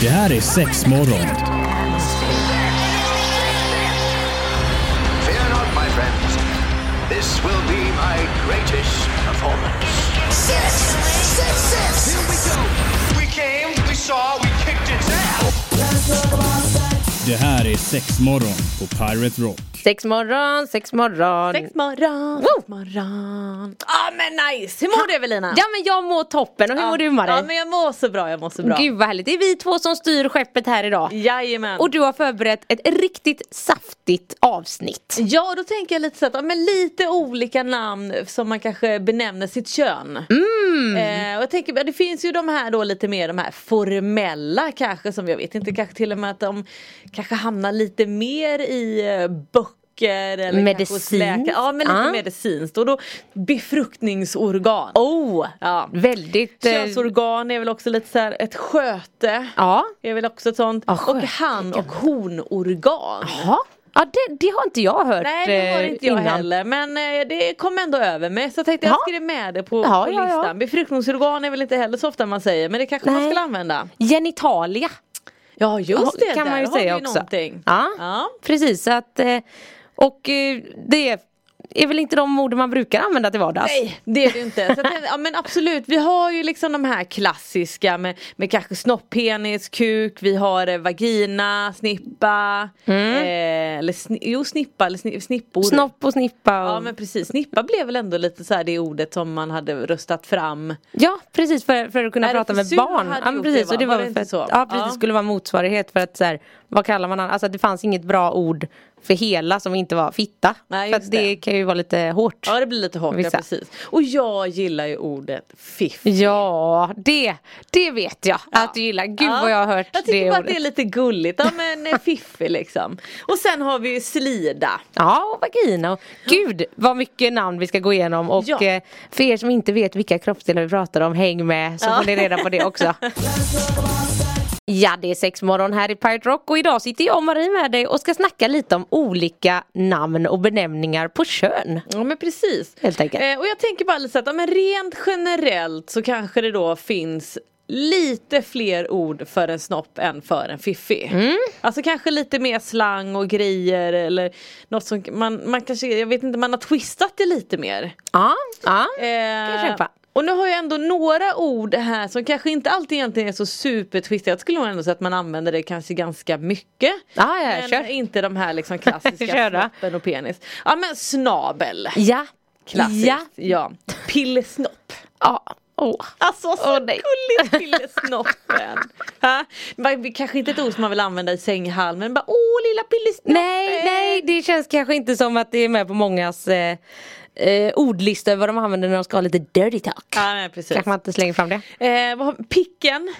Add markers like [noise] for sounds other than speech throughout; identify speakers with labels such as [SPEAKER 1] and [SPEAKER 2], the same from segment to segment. [SPEAKER 1] Det här är sex morgon.
[SPEAKER 2] Fear not, my friends. This will be my greatest performance.
[SPEAKER 3] Six, six, six.
[SPEAKER 2] We came, we saw, we kicked its ass.
[SPEAKER 1] Det här är sex morgon på Pirate Rock.
[SPEAKER 4] Sex morgon, sex morgon.
[SPEAKER 5] Sex morgon, sex morgon. Ja ah, men nice! Hur mår du Evelina?
[SPEAKER 4] Ja men jag mår toppen och hur mår du
[SPEAKER 5] Ja
[SPEAKER 4] Marie?
[SPEAKER 5] men jag mår så bra, jag mår så bra.
[SPEAKER 4] Gud vad härligt, det är vi två som styr skeppet här idag.
[SPEAKER 5] Jajamän.
[SPEAKER 4] Och du har förberett ett riktigt saftigt avsnitt.
[SPEAKER 5] Ja och då tänker jag lite så att, ja, men lite olika namn som man kanske benämner sitt kön.
[SPEAKER 4] Mm.
[SPEAKER 5] Eh, och jag tänker, ja, det finns ju de här då lite mer de här formella kanske som jag vet inte kanske till och med att de kanske hamnar lite mer i eh, böcker eller kanske hos
[SPEAKER 4] Medicinskt.
[SPEAKER 5] läkare. Ja men lite
[SPEAKER 4] Ah.
[SPEAKER 5] medicinskt och då befruktningsorgan.
[SPEAKER 4] Oh,
[SPEAKER 5] Ja.
[SPEAKER 4] väldigt... eh,
[SPEAKER 5] Könsorgan är väl också lite så här ett sköte.
[SPEAKER 4] Ja,
[SPEAKER 5] är väl också ett sånt.
[SPEAKER 4] Ja,
[SPEAKER 5] och
[SPEAKER 4] skönt,
[SPEAKER 5] han och honorgan.
[SPEAKER 4] Jaha. Ja, det, det har inte jag hört
[SPEAKER 5] Nej det var
[SPEAKER 4] eh,
[SPEAKER 5] inte jag
[SPEAKER 4] innan.
[SPEAKER 5] heller men eh, det kom ändå över mig så jag tänkte
[SPEAKER 4] Ja.
[SPEAKER 5] jag skrev med det på,
[SPEAKER 4] Ja,
[SPEAKER 5] på
[SPEAKER 4] ja, ja.
[SPEAKER 5] listan. Befruktningsorgan är väl inte heller så ofta man säger men det kanske man
[SPEAKER 4] Nej.
[SPEAKER 5] skulle använda.
[SPEAKER 4] Genitalia
[SPEAKER 5] Ja just det,
[SPEAKER 4] kan
[SPEAKER 5] där
[SPEAKER 4] man ju
[SPEAKER 5] har vi
[SPEAKER 4] säga också.
[SPEAKER 5] någonting.
[SPEAKER 4] Ja,
[SPEAKER 5] Ja.
[SPEAKER 4] precis. Så att, eh, och eh, det är väl inte de ord man brukar använda till vardags?
[SPEAKER 5] Nej det är det ju inte. Så jag tänkte, ja, men absolut vi har ju liksom de här klassiska med, med kanske snopppenis, kuk, vi har eh, vagina, snippa. Eh, eller sni, jo snippa eller sni, snippor.
[SPEAKER 4] [laughs] Mm. Snopp och snippa och...
[SPEAKER 5] Ja men precis, snippa blev väl ändå lite så här det ordet som man hade röstat fram.
[SPEAKER 4] Ja precis för, för att kunna
[SPEAKER 5] Nej,
[SPEAKER 4] prata med
[SPEAKER 5] RFSU
[SPEAKER 4] barn.
[SPEAKER 5] hade
[SPEAKER 4] Ja, men
[SPEAKER 5] gjort
[SPEAKER 4] precis,
[SPEAKER 5] det, va?
[SPEAKER 4] och det var,
[SPEAKER 5] Var det
[SPEAKER 4] för
[SPEAKER 5] inte
[SPEAKER 4] att,
[SPEAKER 5] så?
[SPEAKER 4] ja, precis,
[SPEAKER 5] Ja.
[SPEAKER 4] det skulle vara motsvarighet för att så här, vad kallar man annars? Alltså det fanns inget bra ord för hela som inte var fitta.
[SPEAKER 5] Nej,
[SPEAKER 4] för
[SPEAKER 5] just
[SPEAKER 4] att det,
[SPEAKER 5] det.
[SPEAKER 4] kan ju vara lite hårt.
[SPEAKER 5] Ja det blir lite hårt, ja,
[SPEAKER 4] Vissa.
[SPEAKER 5] precis. Och jag gillar ju ordet fiff.
[SPEAKER 4] Ja, det, det vet jag att du gillar. Gud
[SPEAKER 5] Ja.
[SPEAKER 4] vad jag har hört
[SPEAKER 5] Jag tycker
[SPEAKER 4] det ordet.
[SPEAKER 5] bara att det är lite gulligt, ja men eh, fiffig liksom. Och sen har vi ju slida.
[SPEAKER 4] Ja, och vagina. Och, gud vad mycket namn vi ska gå igenom. Och
[SPEAKER 5] Ja.
[SPEAKER 4] eh, för er som inte vet vilka kroppsdelar vi pratar om, häng med så
[SPEAKER 5] Ja.
[SPEAKER 4] får ni reda på det
[SPEAKER 5] [laughs]
[SPEAKER 4] också. Ja, det är sex morgon här i Pirate Rock och idag sitter jag och Marie med dig och ska snacka lite om olika namn och benämningar på kön.
[SPEAKER 5] Ja men precis.
[SPEAKER 4] Helt enkelt.
[SPEAKER 5] Eh, och jag tänker bara lite så att, ja, men rent generellt så kanske det då finns lite fler ord för en snopp än för en fiffi.
[SPEAKER 4] Mm.
[SPEAKER 5] Alltså kanske lite mer slang och grejer eller något som man, man kanske, jag vet inte, man har twistat det lite mer.
[SPEAKER 4] Ja, ja. jag
[SPEAKER 5] Eh,
[SPEAKER 4] köpa.
[SPEAKER 5] och nu har jag ändå några ord här som kanske inte alltid egentligen är så supertwistiga. Jag skulle nog ändå säga att man använder det kanske ganska mycket.
[SPEAKER 4] Ja, ja,
[SPEAKER 5] men
[SPEAKER 4] kör.
[SPEAKER 5] inte de här liksom
[SPEAKER 4] [laughs]
[SPEAKER 5] klassiska
[SPEAKER 4] Kör då.
[SPEAKER 5] snoppen och penis. Ja men snabel.
[SPEAKER 4] Ja.
[SPEAKER 5] Klassiskt.
[SPEAKER 4] Ja.
[SPEAKER 5] ja. Pillesnopp.
[SPEAKER 4] ja. Åh.
[SPEAKER 5] Alltså så
[SPEAKER 4] Åh, nej.
[SPEAKER 5] gulligt [laughs] pillesnoppen! Ha? Men det kanske inte ett ord som man vill använda i sänghalmen, bara åh lilla pillesnoppen!
[SPEAKER 4] Nej, nej, det känns kanske inte som att det är med på mångas eh, eh, ordlista över vad de använder när de ska ha lite dirty talk.
[SPEAKER 5] Ja, nej precis.
[SPEAKER 4] Kanske man inte slänger fram det.
[SPEAKER 5] Eh, vad har, picken!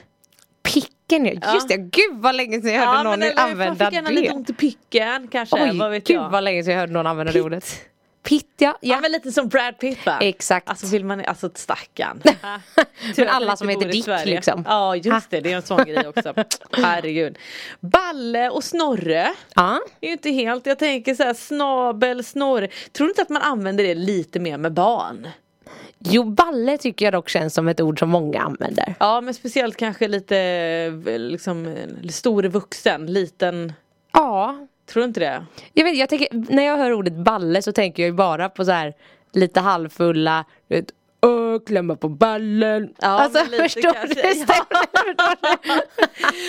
[SPEAKER 4] Picken ja, just det. Gud vad länge sedan jag hörde någon
[SPEAKER 5] eller,
[SPEAKER 4] använda
[SPEAKER 5] Jag fick gärna lite
[SPEAKER 4] det.
[SPEAKER 5] ont i picken kanske,
[SPEAKER 4] Oj,
[SPEAKER 5] vad vet
[SPEAKER 4] gud
[SPEAKER 5] jag?
[SPEAKER 4] vad länge sedan jag hörde någon använda det
[SPEAKER 5] Pitt.
[SPEAKER 4] ordet. Pitt ja.
[SPEAKER 5] Ja.
[SPEAKER 4] ja.
[SPEAKER 5] men lite som Brad Pitt va?
[SPEAKER 4] Exakt.
[SPEAKER 5] Alltså vill man, alltså stackarn. Ah, tur
[SPEAKER 4] Men
[SPEAKER 5] att
[SPEAKER 4] alla
[SPEAKER 5] han
[SPEAKER 4] som heter
[SPEAKER 5] inte bor i
[SPEAKER 4] Dick,
[SPEAKER 5] Sverige.
[SPEAKER 4] liksom.
[SPEAKER 5] Ja just det, det är en sån grej också.
[SPEAKER 4] [laughs]
[SPEAKER 5] Herregud. Balle och Snorre.
[SPEAKER 4] ja.
[SPEAKER 5] Det är ju inte helt, jag tänker så här snabel, Snorre. Tror du inte att man använder det lite mer med barn?
[SPEAKER 4] Jo, balle tycker jag dock känns som ett ord som många använder.
[SPEAKER 5] Ja men speciellt kanske lite eh, liksom eh, stor vuxen, liten.
[SPEAKER 4] Ja.
[SPEAKER 5] Tror du inte det?
[SPEAKER 4] Jag vet, jag tänker, när jag hör ordet balle så tänker jag ju bara på så här lite halvfulla, du vet, Öh, klämma på ballen.
[SPEAKER 5] Ja,
[SPEAKER 4] alltså
[SPEAKER 5] men lite
[SPEAKER 4] förstår
[SPEAKER 5] kanske.
[SPEAKER 4] du?
[SPEAKER 5] Ja.
[SPEAKER 4] Förstår du?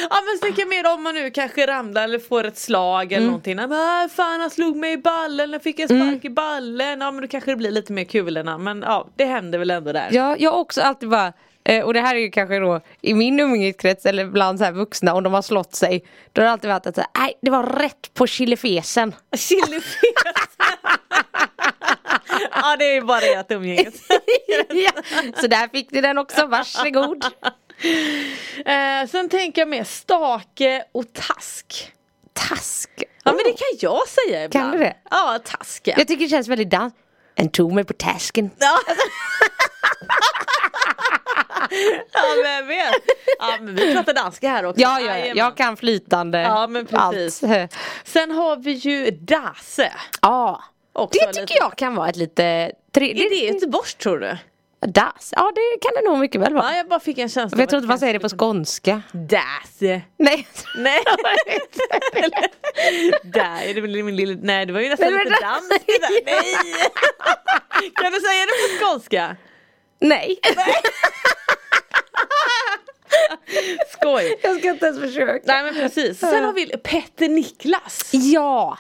[SPEAKER 5] Ja men tänker jag mer om man nu kanske ramlar eller får ett slag eller någonting. Nej, Men, äh, fan han slog mig i ballen, jag fick en spark i ballen. Ja men då kanske det blir lite mer kulorna. Men ja, det händer väl ändå där.
[SPEAKER 4] Ja, jag har också alltid bara eh, och det här är ju kanske då i min umgängeskrets eller bland så här vuxna om de har slått sig Då har det alltid varit att säga, nej det var rätt på chilifesen
[SPEAKER 5] Chilifes! ja det är ju bara ert umgänges.
[SPEAKER 4] [laughs] ja. Så där fick ni den också, varsågod
[SPEAKER 5] [laughs] eh, sen tänker jag mer stake och task.
[SPEAKER 4] Task
[SPEAKER 5] Ja men det kan jag säga ibland.
[SPEAKER 4] Oh. Kan du det?
[SPEAKER 5] Ja, tasken.
[SPEAKER 4] Jag tycker det känns väldigt dans En tog mig på tasken
[SPEAKER 5] Ja.
[SPEAKER 4] Alltså-
[SPEAKER 5] [laughs] ja vem vet. Ja men vi pratar danska här också.
[SPEAKER 4] Ja, ja, ja.
[SPEAKER 5] Jajamän.
[SPEAKER 4] jag kan flytande
[SPEAKER 5] Ja, men precis.
[SPEAKER 4] allt
[SPEAKER 5] Sen har vi ju Dase.
[SPEAKER 4] Ja,
[SPEAKER 5] Också
[SPEAKER 4] det tycker
[SPEAKER 5] lite-
[SPEAKER 4] jag kan vara ett lite tre...
[SPEAKER 5] Är det Göteborgs tror du?
[SPEAKER 4] Das, ja det kan det nog mycket väl vara.
[SPEAKER 5] Ja, jag bara fick en känsla.
[SPEAKER 4] Men jag tror inte man säger det på skånska.
[SPEAKER 5] Das.
[SPEAKER 4] Nej.
[SPEAKER 5] Nej. [laughs] där är det väl min lilla... Nej det var ju nästan
[SPEAKER 4] Nej, men
[SPEAKER 5] lite
[SPEAKER 4] där-
[SPEAKER 5] dansk det
[SPEAKER 4] [laughs]
[SPEAKER 5] där. Nej! kan du säga det på skånska?
[SPEAKER 4] Nej.
[SPEAKER 5] Skoj!
[SPEAKER 4] Jag ska inte ens försöka.
[SPEAKER 5] Nej men precis. Sen har vi Petter Niklas.
[SPEAKER 4] Ja.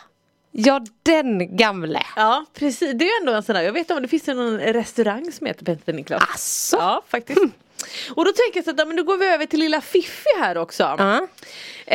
[SPEAKER 4] Ja den gamle.
[SPEAKER 5] Ja precis, det är ju ändå en sån där, jag vet om det finns ju någon restaurang som heter Petter Niklas.
[SPEAKER 4] Asså.
[SPEAKER 5] Ja faktiskt. Och då tänker jag så att ja, men då går vi över till lilla Fiffi här också.
[SPEAKER 4] Ja.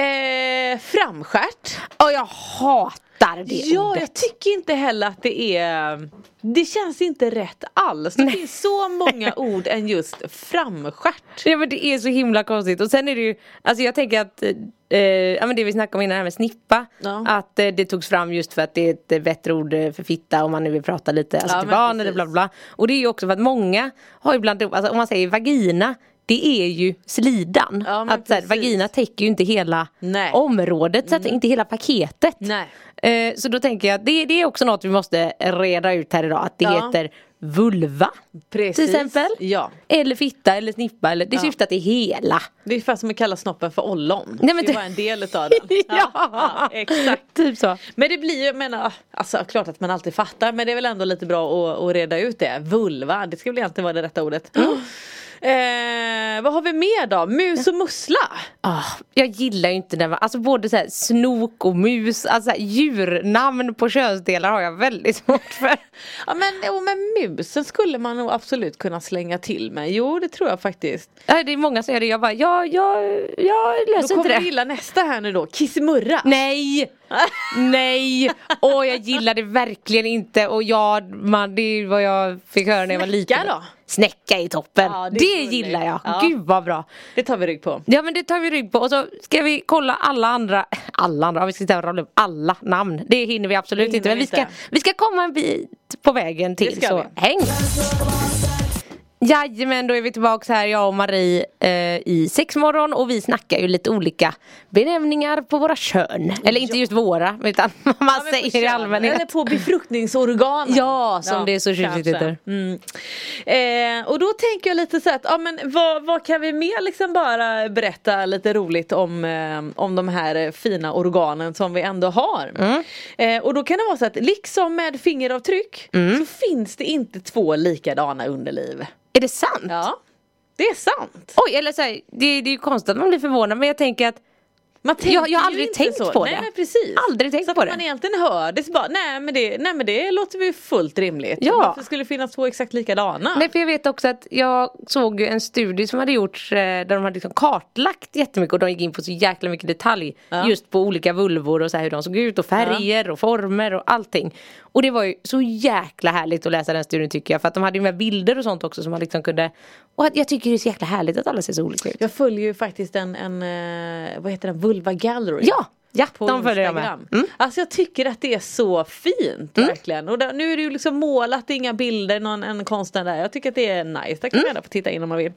[SPEAKER 5] Eh, framskärt.
[SPEAKER 4] Och jag hatar det
[SPEAKER 5] Ja,
[SPEAKER 4] ordet.
[SPEAKER 5] jag tycker inte heller att det är Det känns inte rätt alls. Det finns så många ord än just framstjärt.
[SPEAKER 4] Ja men det är så himla konstigt och sen är det ju Alltså jag tänker att eh, ja, men Det vi snackade om innan det här med snippa
[SPEAKER 5] Ja.
[SPEAKER 4] Att eh, det togs fram just för att det är ett eh, bättre ord eh, för fitta om man nu vill prata lite alltså,
[SPEAKER 5] Ja,
[SPEAKER 4] till
[SPEAKER 5] men
[SPEAKER 4] barn eller
[SPEAKER 5] precis.
[SPEAKER 4] bla bla Och det är ju också för att många har ibland alltså, Om man säger vagina Det är ju slidan
[SPEAKER 5] Ja, men
[SPEAKER 4] att, så här,
[SPEAKER 5] precis.
[SPEAKER 4] Vagina täcker ju inte hela
[SPEAKER 5] Nej.
[SPEAKER 4] området så att, Inte hela paketet
[SPEAKER 5] Nej.
[SPEAKER 4] Eh, Så då tänker jag att det, det är också något vi måste reda ut här idag Att det
[SPEAKER 5] Ja.
[SPEAKER 4] heter vulva
[SPEAKER 5] Precis.
[SPEAKER 4] Till exempel
[SPEAKER 5] Ja.
[SPEAKER 4] eller fitta eller snippa eller det
[SPEAKER 5] Ja.
[SPEAKER 4] syftar till
[SPEAKER 5] [laughs]
[SPEAKER 4] hela.
[SPEAKER 5] Det är ungefär som att kalla snoppen för ollon.
[SPEAKER 4] Nej, men
[SPEAKER 5] det är
[SPEAKER 4] det-
[SPEAKER 5] bara en
[SPEAKER 4] [laughs]
[SPEAKER 5] del utav den. exakt.
[SPEAKER 4] Typ så.
[SPEAKER 5] Men det blir ju, jag menar, alltså klart att man alltid fattar men det är väl ändå lite bra att, att reda ut det. Vulva, det skulle egentligen vara det rätta ordet. [gasps] Eh, vad har vi mer då? Mus och mussla.
[SPEAKER 4] Ah, jag gillar ju inte när man, alltså både så här snok och mus, alltså så här, djurnamn på könsdelar har jag väldigt [laughs] svårt för.
[SPEAKER 5] Ja men, jo, men musen skulle man nog absolut kunna slänga till med. Jo det tror jag faktiskt.
[SPEAKER 4] Nej, det är många som gör det, jag bara, jag, jag, jag
[SPEAKER 5] Då
[SPEAKER 4] löser inte
[SPEAKER 5] kommer
[SPEAKER 4] det.
[SPEAKER 5] du gilla nästa här nu då, kissemurra.
[SPEAKER 4] Nej! Nej! Åh jag gillar det verkligen inte och jag, man, det är vad jag fick höra när jag var liten.
[SPEAKER 5] Snäcka då?
[SPEAKER 4] Snäcka i toppen!
[SPEAKER 5] Ja, det
[SPEAKER 4] det
[SPEAKER 5] är gulligt.
[SPEAKER 4] gillar jag!
[SPEAKER 5] Ja.
[SPEAKER 4] Gud vad bra!
[SPEAKER 5] Det tar vi rygg på.
[SPEAKER 4] Ja men det tar vi rygg på och så ska vi kolla alla andra, [laughs] alla andra, om vi ska sitta och rabbla upp alla namn. Det hinner vi absolut
[SPEAKER 5] hinner
[SPEAKER 4] inte men
[SPEAKER 5] vi
[SPEAKER 4] vi ska,
[SPEAKER 5] inte.
[SPEAKER 4] vi ska komma en bit på vägen till
[SPEAKER 5] ska
[SPEAKER 4] så
[SPEAKER 5] vi.
[SPEAKER 4] häng! Jajamän, då är vi tillbaks här jag och Marie eh, i sexmorgon och vi snackar ju lite olika benämningar på våra kön. Eller inte just våra utan [laughs] man
[SPEAKER 5] men på
[SPEAKER 4] säger i
[SPEAKER 5] kön.
[SPEAKER 4] allmänhet.
[SPEAKER 5] Eller på befruktningsorganen.
[SPEAKER 4] Ja, som det är så tjusigt
[SPEAKER 5] kanske.
[SPEAKER 4] heter.
[SPEAKER 5] Mm. Eh, och då tänker jag lite så här att, ja men vad, vad kan vi mer liksom bara berätta lite roligt om, eh, om de här eh, fina organen som vi ändå har.
[SPEAKER 4] Mm.
[SPEAKER 5] Eh, och då kan det vara så att liksom med fingeravtryck
[SPEAKER 4] Mm.
[SPEAKER 5] så finns det inte två likadana underliv.
[SPEAKER 4] Är det sant?
[SPEAKER 5] Ja, det är sant.
[SPEAKER 4] Oj, eller så här, det, det är ju konstigt att man blir förvånad men jag tänker att
[SPEAKER 5] Man tänker
[SPEAKER 4] jag har
[SPEAKER 5] ju
[SPEAKER 4] aldrig
[SPEAKER 5] inte
[SPEAKER 4] tänkt på
[SPEAKER 5] nej,
[SPEAKER 4] det.
[SPEAKER 5] Men precis.
[SPEAKER 4] Aldrig tänkt
[SPEAKER 5] så att
[SPEAKER 4] på
[SPEAKER 5] man
[SPEAKER 4] det.
[SPEAKER 5] egentligen hör det så bara, nej men det, nej men det låter ju fullt rimligt.
[SPEAKER 4] Ja.
[SPEAKER 5] Varför skulle det finnas två exakt likadana?
[SPEAKER 4] Nej för jag vet också att jag såg ju en studie som hade gjorts eh, där de hade liksom kartlagt jättemycket och de gick in på så jäkla mycket detalj
[SPEAKER 5] Ja.
[SPEAKER 4] just på olika vulvor och så här hur de såg ut och färger och former och allting. Och det var ju så jäkla härligt att läsa den studien tycker jag för att de hade ju med bilder och sånt också som man liksom kunde och att jag tycker det är så jäkla härligt att alla ser så olika ut.
[SPEAKER 5] Jag följer ju faktiskt en, en eh, vad heter den, Vulva Gallery.
[SPEAKER 4] Ja, ja
[SPEAKER 5] På
[SPEAKER 4] de följer jag med.
[SPEAKER 5] Instagram.
[SPEAKER 4] Mm.
[SPEAKER 5] Alltså jag tycker att det är så fint verkligen. Och där, nu är det ju liksom målat, det är inga bilder, någon, en konstnär där. Jag tycker att det är nice. Där kan
[SPEAKER 4] Mm.
[SPEAKER 5] man gärna få titta in om man vill.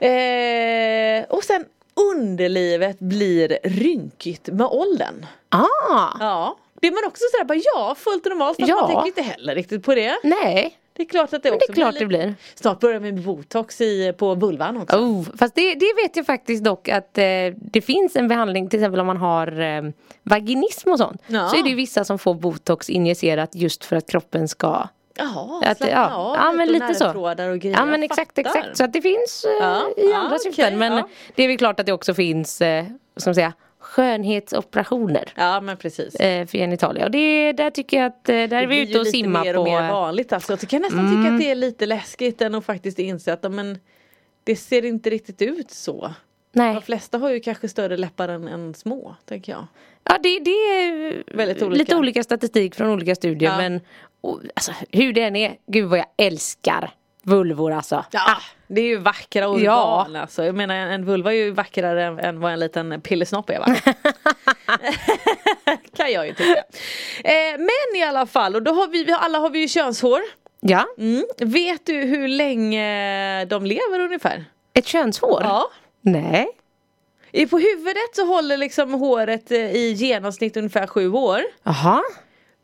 [SPEAKER 5] Eh, och sen underlivet blir rynkigt med åldern.
[SPEAKER 4] Ah,
[SPEAKER 5] Ja. Det är man också sådär bara ja, fullt normalt. Fast
[SPEAKER 4] Ja.
[SPEAKER 5] man tänker inte heller riktigt på det.
[SPEAKER 4] nej.
[SPEAKER 5] Det är klart att det
[SPEAKER 4] Men
[SPEAKER 5] också
[SPEAKER 4] det är klart det
[SPEAKER 5] lite-
[SPEAKER 4] blir.
[SPEAKER 5] Snart börjar vi med botox i, på vulvan också.
[SPEAKER 4] Oh, fast det, det vet jag faktiskt dock att eh, det finns en behandling till exempel om man har eh, vaginism och sånt.
[SPEAKER 5] Ja.
[SPEAKER 4] Så är det ju vissa som får botox injicerat just för att kroppen ska
[SPEAKER 5] Jaha,
[SPEAKER 4] att,
[SPEAKER 5] slappna av
[SPEAKER 4] ja men
[SPEAKER 5] och
[SPEAKER 4] lite så.
[SPEAKER 5] nervtrådar och grejer.
[SPEAKER 4] Ja men
[SPEAKER 5] Jag
[SPEAKER 4] exakt
[SPEAKER 5] fattar.
[SPEAKER 4] exakt så att det finns eh,
[SPEAKER 5] Ja,
[SPEAKER 4] i
[SPEAKER 5] ja,
[SPEAKER 4] andra
[SPEAKER 5] okej,
[SPEAKER 4] syften men
[SPEAKER 5] ja.
[SPEAKER 4] det är väl klart att det också finns eh, som säga, skönhetsoperationer
[SPEAKER 5] Ja men precis.
[SPEAKER 4] eh, för genitalia och det, där tycker jag att eh, där är vi ute och
[SPEAKER 5] lite
[SPEAKER 4] simmar
[SPEAKER 5] mer
[SPEAKER 4] på Mm.
[SPEAKER 5] och mer
[SPEAKER 4] eh,
[SPEAKER 5] vanligt alltså. Jag kan nästan tycka att det är lite läskigt än att faktiskt inse att ja, men, det ser inte riktigt ut så. De
[SPEAKER 4] nej.
[SPEAKER 5] flesta har ju kanske större läppar än, än små, tänker jag.
[SPEAKER 4] Ja det, det är
[SPEAKER 5] Väldigt olika.
[SPEAKER 4] lite olika statistik från olika studier
[SPEAKER 5] Ja.
[SPEAKER 4] men och, alltså, hur det än är, gud vad jag älskar vulvor alltså.
[SPEAKER 5] Ja, Ah, det är ju vackra organ
[SPEAKER 4] Ja.
[SPEAKER 5] alltså. Jag menar en, en vulva är ju vackrare än, än vad en liten pillesnopp är va? [laughs] kan jag ju tycka. Eh, men i alla fall, och då har vi, vi har- alla har vi ju könshår.
[SPEAKER 4] Ja,
[SPEAKER 5] Mm. Vet du hur länge de lever ungefär?
[SPEAKER 4] ett könshår? Nej.
[SPEAKER 5] I- På huvudet så håller liksom håret eh, i genomsnitt ungefär sju år.
[SPEAKER 4] Jaha,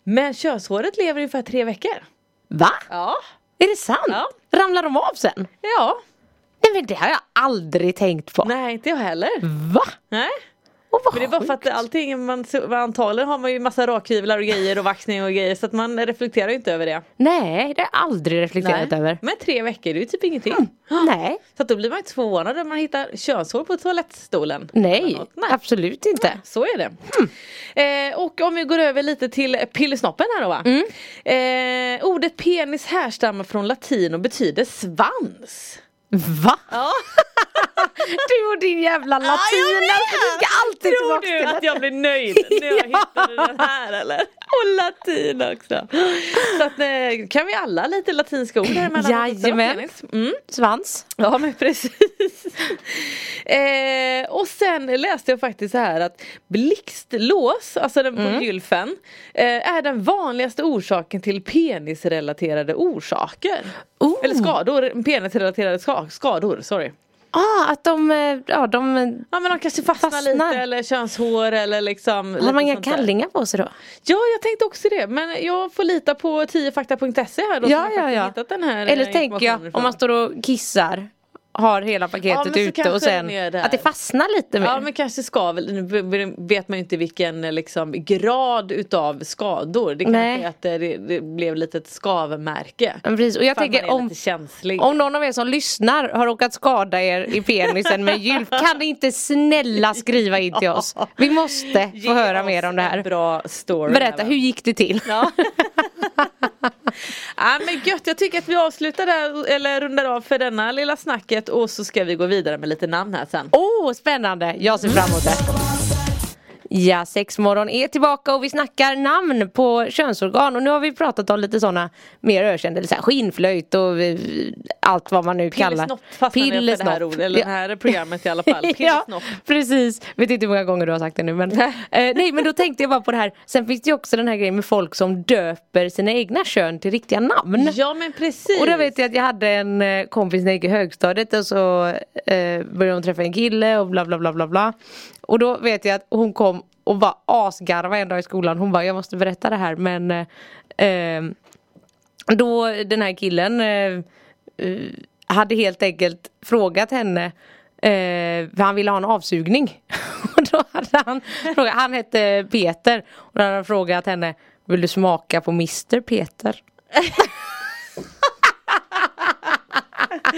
[SPEAKER 5] Men könshåret lever ungefär tre veckor.
[SPEAKER 4] va?
[SPEAKER 5] Ja.
[SPEAKER 4] Är det sant?
[SPEAKER 5] Ja.
[SPEAKER 4] Ramlar de av sen?
[SPEAKER 5] Ja.
[SPEAKER 4] Nej men det har jag aldrig tänkt på.
[SPEAKER 5] Nej, inte jag heller.
[SPEAKER 4] Va?
[SPEAKER 5] Nej.
[SPEAKER 4] Och vad
[SPEAKER 5] Men det är bara för att
[SPEAKER 4] sjukt.
[SPEAKER 5] allting, man, man- antagligen har man ju massa rakhyvlar och grejer och vaxning och grejer så att man reflekterar ju inte över det.
[SPEAKER 4] Nej, det har jag aldrig reflekterat över. Mm.
[SPEAKER 5] Men tre veckor, det är ju typ ingenting.
[SPEAKER 4] Nej,
[SPEAKER 5] Så att då blir man ju inte förvånad när man hittar könshår på toalettstolen.
[SPEAKER 4] nej, absolut inte.
[SPEAKER 5] Så är det.
[SPEAKER 4] Mm.
[SPEAKER 5] Eh, och om vi går över lite till pillesnoppen här då va. Eh, ordet penis härstammar från latin och betyder svans.
[SPEAKER 4] Va? [laughs]
[SPEAKER 5] [laughs]
[SPEAKER 4] du och din jävla latin alltså, du ska alltid
[SPEAKER 5] Tror
[SPEAKER 4] tillbaka
[SPEAKER 5] du
[SPEAKER 4] till
[SPEAKER 5] att
[SPEAKER 4] latin.
[SPEAKER 5] jag blir nöjd när jag [laughs]
[SPEAKER 4] Ja.
[SPEAKER 5] hittade den här eller? Och latin också. Så att eh, kan vi alla lite latinska ord här emellanåt också då,
[SPEAKER 4] Jajamän.
[SPEAKER 5] penis? Mm.
[SPEAKER 4] Svans?
[SPEAKER 5] Ja men precis. [laughs] eh, och sen läste jag faktiskt så här att blixtlås, alltså den på gylfen, eh, är den vanligaste orsaken till penisrelaterade orsaker.
[SPEAKER 4] Oh.
[SPEAKER 5] Eller skador, penisrelaterade ska- skador, sorry.
[SPEAKER 4] Ah, att de, eh, ja de, eh,
[SPEAKER 5] Ja men de kanske fastnar,
[SPEAKER 4] Fastnar.
[SPEAKER 5] lite eller könshår eller liksom
[SPEAKER 4] har
[SPEAKER 5] lite
[SPEAKER 4] man inga
[SPEAKER 5] sånt där.
[SPEAKER 4] kallingar på sig då?
[SPEAKER 5] Ja jag tänkte också det men jag får lita på 10fakta.se här då som
[SPEAKER 4] Ja,
[SPEAKER 5] har
[SPEAKER 4] ja,
[SPEAKER 5] faktiskt
[SPEAKER 4] ja.
[SPEAKER 5] hittat den här eh,
[SPEAKER 4] Eller tänker
[SPEAKER 5] informationen
[SPEAKER 4] jag om man
[SPEAKER 5] ifrån.
[SPEAKER 4] står och kissar, har hela
[SPEAKER 5] Ja,
[SPEAKER 4] paketet
[SPEAKER 5] men så
[SPEAKER 4] ute och
[SPEAKER 5] kanske
[SPEAKER 4] sen
[SPEAKER 5] den är där.
[SPEAKER 4] att det fastnar lite mer.
[SPEAKER 5] Ja men kanske skavel, nu b- b- vet man ju inte vilken eh, liksom, grad utav skador. Det kanske
[SPEAKER 4] Nej.
[SPEAKER 5] är att eh, det, det blev lite ett skavmärke.
[SPEAKER 4] Ja, precis. Och jag
[SPEAKER 5] För att
[SPEAKER 4] tänker
[SPEAKER 5] man är
[SPEAKER 4] om,
[SPEAKER 5] lite känslig.
[SPEAKER 4] om någon av er som lyssnar har råkat skada er i penisen med
[SPEAKER 5] [laughs]
[SPEAKER 4] gylf, kan ni inte snälla skriva in till oss? Vi måste
[SPEAKER 5] Ge
[SPEAKER 4] få höra
[SPEAKER 5] oss
[SPEAKER 4] mer om det
[SPEAKER 5] en
[SPEAKER 4] här.
[SPEAKER 5] Bra story.
[SPEAKER 4] Berätta,
[SPEAKER 5] här,
[SPEAKER 4] hur gick det till? [laughs]
[SPEAKER 5] Ja. [laughs] ja men gött, jag tycker att vi avslutar där eller rundar av för denna lilla snacket och så ska vi gå vidare med lite namn här sen.
[SPEAKER 4] Åh, oh, spännande! Jag ser fram emot det. Ja, Sexmorgon är tillbaka och vi snackar namn på könsorgan och nu har vi pratat om lite sådana mer ökända, lite så här skinnflöjt och eh, allt vad man nu
[SPEAKER 5] Pillesnopp
[SPEAKER 4] kallar.
[SPEAKER 5] fastnade jag för det här
[SPEAKER 4] Pillesnopp.
[SPEAKER 5] ordet, eller det
[SPEAKER 4] Ja.
[SPEAKER 5] här programmet i alla fall.
[SPEAKER 4] [laughs] ja,
[SPEAKER 5] Pillesnopp.
[SPEAKER 4] precis. Vet inte hur många gånger du har sagt det nu men. eh, nej men då tänkte jag bara på det här. Sen finns det ju också den här grejen med folk som döper sina egna kön till riktiga namn.
[SPEAKER 5] Ja men precis.
[SPEAKER 4] Och då
[SPEAKER 5] [laughs]
[SPEAKER 4] vet jag att jag hade en eh, kompis när jag gick i högstadiet och så eh, började hon träffa en kille och bla bla bla bla bla. Och då vet jag att hon kom och bara asgarvade en dag i skolan. Hon bara jag måste berätta det här men eh, eh, då den här killen eh, eh, hade helt enkelt frågat henne eh, för han ville ha en avsugning. [laughs] Och då hade han, frågat, han hette Peter och då hade han frågat henne Vill du smaka på Mr Peter?
[SPEAKER 5] Ja, [laughs]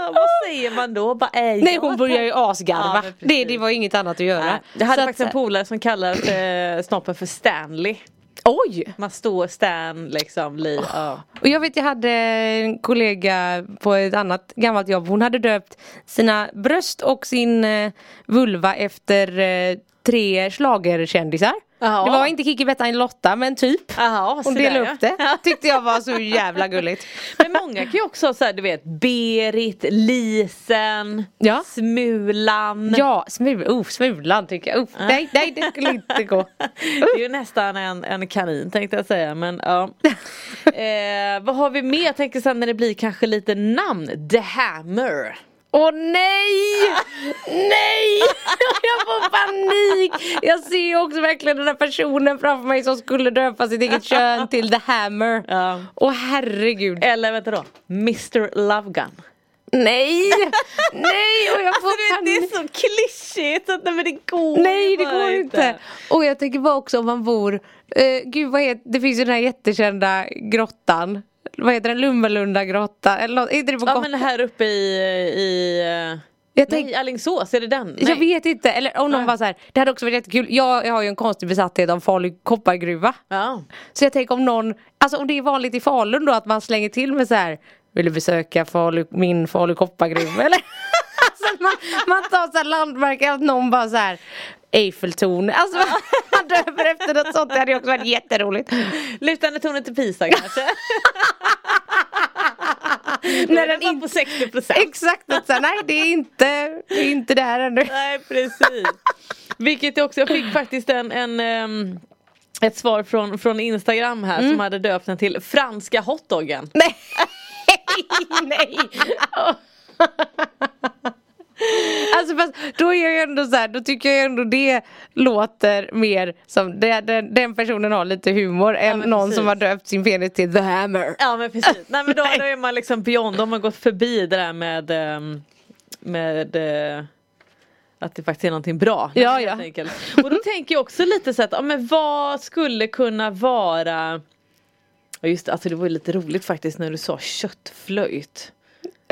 [SPEAKER 5] Ah, vad säger man då? Bara, ej,
[SPEAKER 4] Nej
[SPEAKER 5] ja,
[SPEAKER 4] hon började ju
[SPEAKER 5] [laughs] Ja,
[SPEAKER 4] asgarva.
[SPEAKER 5] men precis.
[SPEAKER 4] det, det var ju inget annat att göra.
[SPEAKER 5] Nej, Jag hade
[SPEAKER 4] Så
[SPEAKER 5] faktiskt en
[SPEAKER 4] att-
[SPEAKER 5] polare som kallade eh, snoppen för Stanley.
[SPEAKER 4] Oj!
[SPEAKER 5] Man står Stan liksom, Li. Ja.
[SPEAKER 4] Och jag vet jag hade en kollega på ett annat gammalt jobb. Hon hade döpt sina bröst och sin eh, vulva efter eh, tre schlagerkändisar.
[SPEAKER 5] Ja.
[SPEAKER 4] Det var inte Kikki, Bettan, Lotta men typ.
[SPEAKER 5] Jaha,
[SPEAKER 4] Hon
[SPEAKER 5] så där,
[SPEAKER 4] delade upp det.
[SPEAKER 5] ja. [laughs]
[SPEAKER 4] Tyckte jag var så jävla gulligt.
[SPEAKER 5] Men många kan ju också ha så här, du vet Berit, Lisen,
[SPEAKER 4] Ja.
[SPEAKER 5] Smulan.
[SPEAKER 4] Ja, smul, oh, smulan tycker jag. Oh, nej, nej det skulle inte gå.
[SPEAKER 5] Ah. [laughs] Det är ju nästan en, en kanin tänkte jag säga men
[SPEAKER 4] [laughs]
[SPEAKER 5] ja. eh, vad har vi mer? Jag tänker sen när det blir kanske lite namn. The Hammer.
[SPEAKER 4] Åh nej! Nej! [laughs] Jag får panik! Jag ser ju också verkligen den här personen framför mig som skulle döpa sitt eget kön till The Hammer.
[SPEAKER 5] Ja.
[SPEAKER 4] Åh herregud.
[SPEAKER 5] Eller vänta då, Mr Love Gun.
[SPEAKER 4] Nej!
[SPEAKER 5] [laughs]
[SPEAKER 4] Nej! Och jag
[SPEAKER 5] Alltså,
[SPEAKER 4] får
[SPEAKER 5] du vet, det
[SPEAKER 4] panik.
[SPEAKER 5] är så klyschigt så att nej, men det går
[SPEAKER 4] Nej
[SPEAKER 5] ju
[SPEAKER 4] det
[SPEAKER 5] bara
[SPEAKER 4] går inte. Och jag tänker bara också om man bor, eh, gud vad heter, det finns ju den här jättekända grottan. Vad heter den? Lummelunda grotta? Eller något, är inte det på
[SPEAKER 5] Ja
[SPEAKER 4] Gotland?
[SPEAKER 5] men här uppe i, i eh,
[SPEAKER 4] Jag
[SPEAKER 5] nej
[SPEAKER 4] tänk-
[SPEAKER 5] Alingsås, är det den? Nej.
[SPEAKER 4] Jag vet inte, eller om någon
[SPEAKER 5] Nej.
[SPEAKER 4] var så här, det hade också varit jättekul, jag, jag har ju en konstig besatthet av Falu koppargruva.
[SPEAKER 5] Ja.
[SPEAKER 4] Så jag tänker om någon, alltså om det är vanligt i Falun då att man slänger till med så här Vill du besöka Falu, min Falu koppargruva [laughs] eller? alltså att man, man tar så här landmärken att någon bara så här Eiffeltorn, alltså man, [laughs] man döper efter något sånt, det hade ju också varit jätteroligt.
[SPEAKER 5] Lutande tornet till
[SPEAKER 4] [laughs]
[SPEAKER 5] Pisa kanske?
[SPEAKER 4] När
[SPEAKER 5] När
[SPEAKER 4] den
[SPEAKER 5] den
[SPEAKER 4] inte-
[SPEAKER 5] på 60 procent.
[SPEAKER 4] Exakt, att så här, nej det är inte, det är inte där ännu.
[SPEAKER 5] [laughs] Nej precis. Vilket jag också, jag fick faktiskt en, en ehm, ett svar från, från Instagram här som hade döpt den till franska hotdoggen.
[SPEAKER 4] Nej,
[SPEAKER 5] [laughs]
[SPEAKER 4] nej. Alltså [laughs] Alltså fast då är jag ändå så här, då tycker jag ändå det låter mer som det, den, den personen har lite humor än
[SPEAKER 5] men
[SPEAKER 4] någon
[SPEAKER 5] precis.
[SPEAKER 4] som har döpt sin penis till The Hammer.
[SPEAKER 5] Ja men precis. Nej men då,
[SPEAKER 4] Nej.
[SPEAKER 5] då är man liksom beyond, då har man gått förbi det där med, ehm, med eh, att det faktiskt är någonting bra.
[SPEAKER 4] Ja,
[SPEAKER 5] helt
[SPEAKER 4] ja.
[SPEAKER 5] enkelt. Och då tänker jag också lite så att, ja, men vad skulle kunna vara Ja just det, alltså det var ju lite roligt faktiskt när du sa köttflöjt.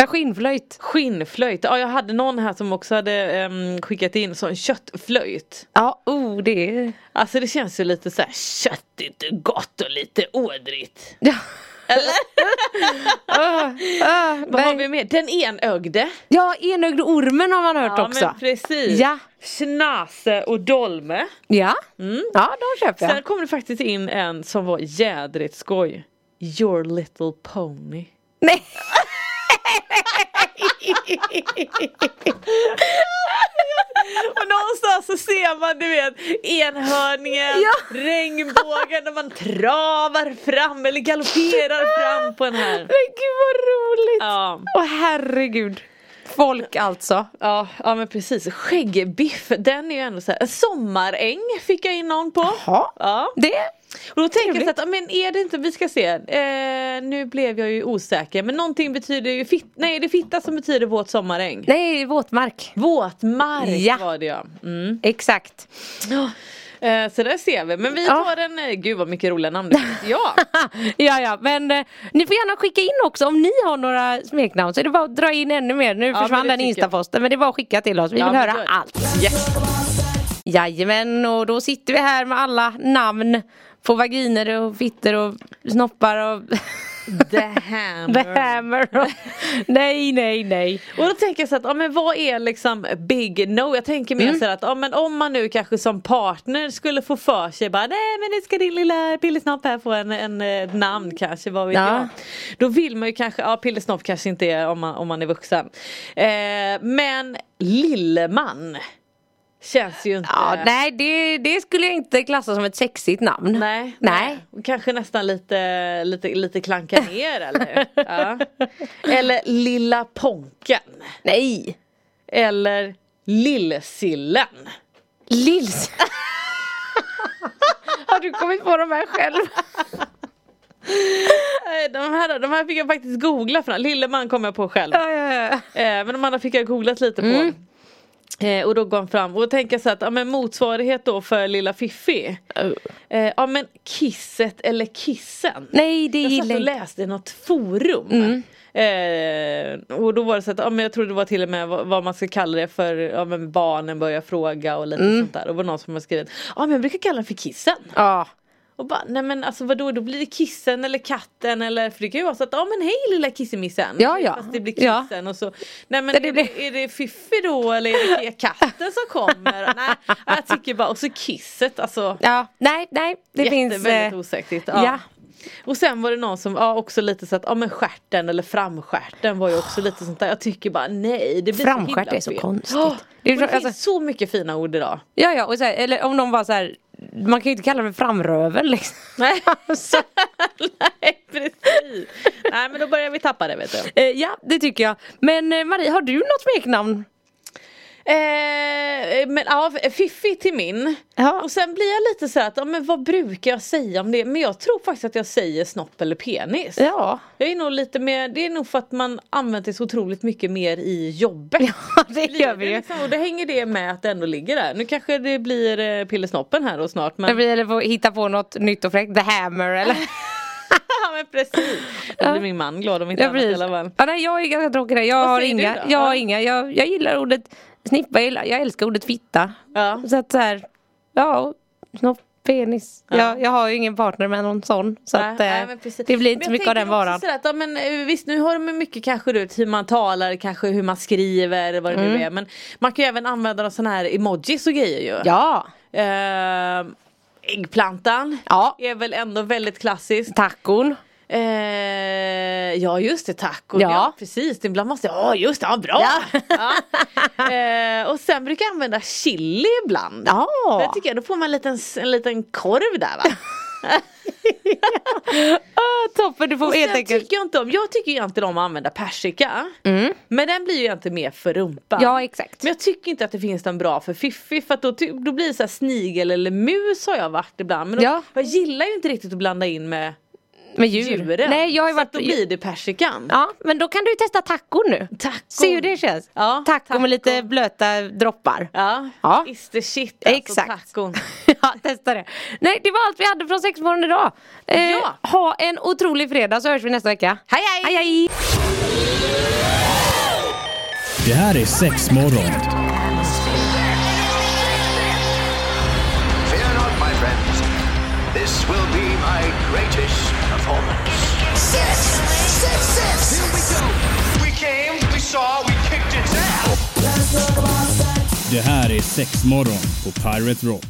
[SPEAKER 4] Ja, skinnflöjt.
[SPEAKER 5] Skinnflöjt, ja jag hade någon här som också hade ehm, skickat in sån köttflöjt.
[SPEAKER 4] Ja, oh det är...
[SPEAKER 5] Alltså det känns ju lite så här köttigt och gott och lite ådrigt.
[SPEAKER 4] Ja. [laughs]
[SPEAKER 5] Vad har
[SPEAKER 4] Eller?
[SPEAKER 5] vi mer? Den enögde.
[SPEAKER 4] ah, ja, enögd ormen har man hört
[SPEAKER 5] Ja
[SPEAKER 4] också.
[SPEAKER 5] men precis.
[SPEAKER 4] Ja.
[SPEAKER 5] Schnase och dolme.
[SPEAKER 4] Ja. ja, de köper jag.
[SPEAKER 5] Mm. Sen kom det faktiskt in en som var jädrigt skoj. Your little pony.
[SPEAKER 4] Nej.
[SPEAKER 5] Och någonstans så ser man du vet enhörningen,
[SPEAKER 4] Ja.
[SPEAKER 5] regnbågen när man travar fram eller galopperar fram på den
[SPEAKER 4] [laughs]
[SPEAKER 5] här.
[SPEAKER 4] Men gud vad roligt!
[SPEAKER 5] Ja.
[SPEAKER 4] Åh herregud. Folk alltså.
[SPEAKER 5] Ja, ja men precis, skäggbiff den är ju ändå så här. sommaräng fick jag in någon på.
[SPEAKER 4] Ja.
[SPEAKER 5] Ja.
[SPEAKER 4] Det.
[SPEAKER 5] Och då tänker jag så
[SPEAKER 4] Trevligt.
[SPEAKER 5] att, ja, men är det inte, vi ska se, eh, nu blev jag ju osäker men någonting betyder ju fitta, nej är det fitta som betyder våt sommaräng?
[SPEAKER 4] Nej, våtmark.
[SPEAKER 5] Våtmark
[SPEAKER 4] Ja.
[SPEAKER 5] var det ja. Mm.
[SPEAKER 4] Exakt.
[SPEAKER 5] Eh, så där ser vi, men vi
[SPEAKER 4] Ja.
[SPEAKER 5] tar en, eh, gud vad mycket roliga namn det finns.
[SPEAKER 4] [laughs]
[SPEAKER 5] Ja,
[SPEAKER 4] ja, ja, men eh, ni får gärna skicka in också om ni har några smeknamn så är det bara att dra in ännu mer. Nu
[SPEAKER 5] men
[SPEAKER 4] försvann
[SPEAKER 5] det
[SPEAKER 4] den
[SPEAKER 5] tycker jag.
[SPEAKER 4] instaposten men det är bara att skicka till oss. Vi
[SPEAKER 5] Ja,
[SPEAKER 4] vill
[SPEAKER 5] men
[SPEAKER 4] höra
[SPEAKER 5] gör det.
[SPEAKER 4] allt.
[SPEAKER 5] yes.
[SPEAKER 4] Jajamän, och då sitter vi här med alla namn på vaginer och fitter och snoppar och [laughs]
[SPEAKER 5] the hammer.
[SPEAKER 4] the hammer. [laughs] och- nej, nej, nej.
[SPEAKER 5] Och då tänker jag så att, ja, men vad är liksom big no? Jag tänker mer
[SPEAKER 4] Mm.
[SPEAKER 5] så här att ja, men om man nu kanske som partner skulle få för sig bara nej men nu ska din lilla pillesnopp här få en, en eh, namn kanske, vad vet
[SPEAKER 4] Ja.
[SPEAKER 5] jag. Då vill man ju kanske, ja pillesnopp kanske inte är om man, om man är vuxen. Eh, men lilleman känns ju inte.
[SPEAKER 4] Ja, nej, det, det skulle jag inte klassa som ett sexigt namn.
[SPEAKER 5] Nej,
[SPEAKER 4] Nej.
[SPEAKER 5] Kanske nästan lite, lite, lite klanka
[SPEAKER 4] [laughs]
[SPEAKER 5] ner eller? Ja. Eller lilla ponken.
[SPEAKER 4] Nej.
[SPEAKER 5] Eller Lillsillen.
[SPEAKER 4] Lils. Har du kommit på de här själv?
[SPEAKER 5] Eh, De här, de här fick jag faktiskt googla fram. Lilleman kom jag på själv.
[SPEAKER 4] Ja, Mm. ja, ja.
[SPEAKER 5] Eh, Men de andra fick jag googlat lite på. Eh, Och då går han fram och tänker så att ja, men motsvarighet då för lilla Fiffi.
[SPEAKER 4] Oh.
[SPEAKER 5] Eh, Ja men kisset eller kissen.
[SPEAKER 4] Nej, det
[SPEAKER 5] Jag
[SPEAKER 4] gillar
[SPEAKER 5] satt och
[SPEAKER 4] jag inte. Mm.
[SPEAKER 5] läste i något forum. Eh, och då var det så att, ja, men jag tror det var till och med vad, vad man ska kalla det för, ja, men barnen börjar fråga och lite
[SPEAKER 4] Mm.
[SPEAKER 5] sånt där. Och det var någon som har skrivit, ja men jag brukar kalla den för kissen.
[SPEAKER 4] Ja.
[SPEAKER 5] Och bara, nej men alltså vadå, då blir det kissen eller katten eller, för det kan ju vara så att, ja men hej lilla kissemissen.
[SPEAKER 4] Ja, ja.
[SPEAKER 5] Fast det blir
[SPEAKER 4] Ja.
[SPEAKER 5] kissen och så, nej men
[SPEAKER 4] Det- det
[SPEAKER 5] är,
[SPEAKER 4] blir-
[SPEAKER 5] det, är det Fiffi då eller är det
[SPEAKER 4] [laughs]
[SPEAKER 5] katten som kommer? nej, jag tycker bara, och så kisset alltså.
[SPEAKER 4] ja. Nej, nej. Det
[SPEAKER 5] jätte-
[SPEAKER 4] finns...
[SPEAKER 5] väldigt
[SPEAKER 4] eh,
[SPEAKER 5] osäkert. Ja.
[SPEAKER 4] ja.
[SPEAKER 5] Och sen var det någon som, ja också lite så att, ja men stjärten eller framstjärten var ju också lite sånt där. Jag tycker bara nej, det blir så
[SPEAKER 4] Framstjärt
[SPEAKER 5] himla
[SPEAKER 4] är så
[SPEAKER 5] fel.
[SPEAKER 4] konstigt.
[SPEAKER 5] Ja,
[SPEAKER 4] Det
[SPEAKER 5] det,
[SPEAKER 4] är-
[SPEAKER 5] det
[SPEAKER 4] alltså-
[SPEAKER 5] finns så mycket fina ord idag.
[SPEAKER 4] Ja, ja. Och så här, eller om någon var så här... Man kan ju inte kalla det för framrövel liksom. [laughs]
[SPEAKER 5] Nej.
[SPEAKER 4] Alltså,
[SPEAKER 5] [laughs] nej precis. nej men då börjar vi tappa det vet du.
[SPEAKER 4] eh, ja, det tycker jag. Men eh, Marie, har du något smeknamn?
[SPEAKER 5] Eh, men ja, Fiffi till min.
[SPEAKER 4] Ja.
[SPEAKER 5] Och sen blir jag lite så här att, ja, men vad brukar jag säga om det? Men jag tror faktiskt att jag säger snopp eller penis.
[SPEAKER 4] Ja. [laughs]
[SPEAKER 5] Jag är nog lite mer, det är nog för att man använder det så otroligt mycket mer i jobbet.
[SPEAKER 4] Ja, det
[SPEAKER 5] blir
[SPEAKER 4] gör
[SPEAKER 5] det
[SPEAKER 4] vi ju.
[SPEAKER 5] liksom, och det hänger det med att det ändå ligger där. Nu kanske det blir eh, pillesnoppen här då snart. Men,
[SPEAKER 4] Eller får hitta på något nytt och fräckt. The hammer eller?
[SPEAKER 5] [laughs] ja, men precis. Då blir min man glad om inte
[SPEAKER 4] Ja,
[SPEAKER 5] annat i
[SPEAKER 4] precis.
[SPEAKER 5] alla fall.
[SPEAKER 4] Ja, nej, jag är ganska tråkig där. Jag
[SPEAKER 5] Vad
[SPEAKER 4] har
[SPEAKER 5] säger du
[SPEAKER 4] inga.
[SPEAKER 5] då?
[SPEAKER 4] Jag, har
[SPEAKER 5] Ja.
[SPEAKER 4] inga. Jag, jag gillar ordet snippa. Jag, gillar, jag älskar ordet fitta.
[SPEAKER 5] Ja.
[SPEAKER 4] Så att så här, ja, snopp, penis.
[SPEAKER 5] Ja.
[SPEAKER 4] Jag, jag har ju ingen partner med någon sån. Så
[SPEAKER 5] Nej,
[SPEAKER 4] att,
[SPEAKER 5] nej,
[SPEAKER 4] eh,
[SPEAKER 5] men precis.
[SPEAKER 4] det blir inte
[SPEAKER 5] Men
[SPEAKER 4] så
[SPEAKER 5] jag
[SPEAKER 4] mycket av den
[SPEAKER 5] tänker också
[SPEAKER 4] varan.
[SPEAKER 5] sådär att, ja, men, eh, visst nu har de mycket kanske du vet, hur man talar, kanske hur man skriver vad det
[SPEAKER 4] Mm.
[SPEAKER 5] nu är. Men man kan ju även använda sådana här emojis och grejer ju.
[SPEAKER 4] Ja,
[SPEAKER 5] Ehm, äggplantan
[SPEAKER 4] Ja.
[SPEAKER 5] är väl ändå väldigt klassiskt.
[SPEAKER 4] tacon.
[SPEAKER 5] Eh, ja just det, tack. Och
[SPEAKER 4] Ja.
[SPEAKER 5] ja. precis, ibland måste jag, ja just det, [laughs] ja, bra.
[SPEAKER 4] Ja.
[SPEAKER 5] Ja. Eh, och sen brukar jag använda chili ibland.
[SPEAKER 4] Ja,
[SPEAKER 5] [laughs] Det tycker jag, då får man en liten, en liten korv där va.
[SPEAKER 4] [laughs] Ah, toppen, du får helt
[SPEAKER 5] Sen
[SPEAKER 4] enkelt Mm.
[SPEAKER 5] tycker jag, inte om, jag tycker ju inte om att använda persika. Men den blir ju inte mer för rumpan.
[SPEAKER 4] Ja exakt.
[SPEAKER 5] Men jag tycker inte att det finns någon bra för fiffi för att då, ty- då blir det så här snigel eller mus har jag varit ibland. Men då,
[SPEAKER 4] Ja.
[SPEAKER 5] jag gillar ju inte riktigt att blanda in med
[SPEAKER 4] Med djur.
[SPEAKER 5] djuren.
[SPEAKER 4] Nej jag har ju
[SPEAKER 5] så att
[SPEAKER 4] varit...
[SPEAKER 5] då blir det persikan.
[SPEAKER 4] Ja men då kan du ju testa taco nu.
[SPEAKER 5] Taco.
[SPEAKER 4] Se hur det känns.
[SPEAKER 5] Ja,
[SPEAKER 4] taco,
[SPEAKER 5] taco.
[SPEAKER 4] med lite blöta droppar.
[SPEAKER 5] Ja,
[SPEAKER 4] Ja.
[SPEAKER 5] is the shit alltså
[SPEAKER 4] Exakt.
[SPEAKER 5] tacon.
[SPEAKER 4] [laughs] ja, testa det. Nej, det var allt vi hade från Sexmorgon idag. Eh,
[SPEAKER 5] Ja.
[SPEAKER 4] Ha en otrolig fredag så hörs vi nästa vecka.
[SPEAKER 5] Hej, hej!
[SPEAKER 4] hej, hej.
[SPEAKER 1] Det här är Sexmorgon.
[SPEAKER 2] Fear not, my friends. This will be my greatest performance.
[SPEAKER 3] six, six, six.
[SPEAKER 2] We came, we saw, we kicked its ass.
[SPEAKER 1] Det här är Sexmorgon på Pirate Rock.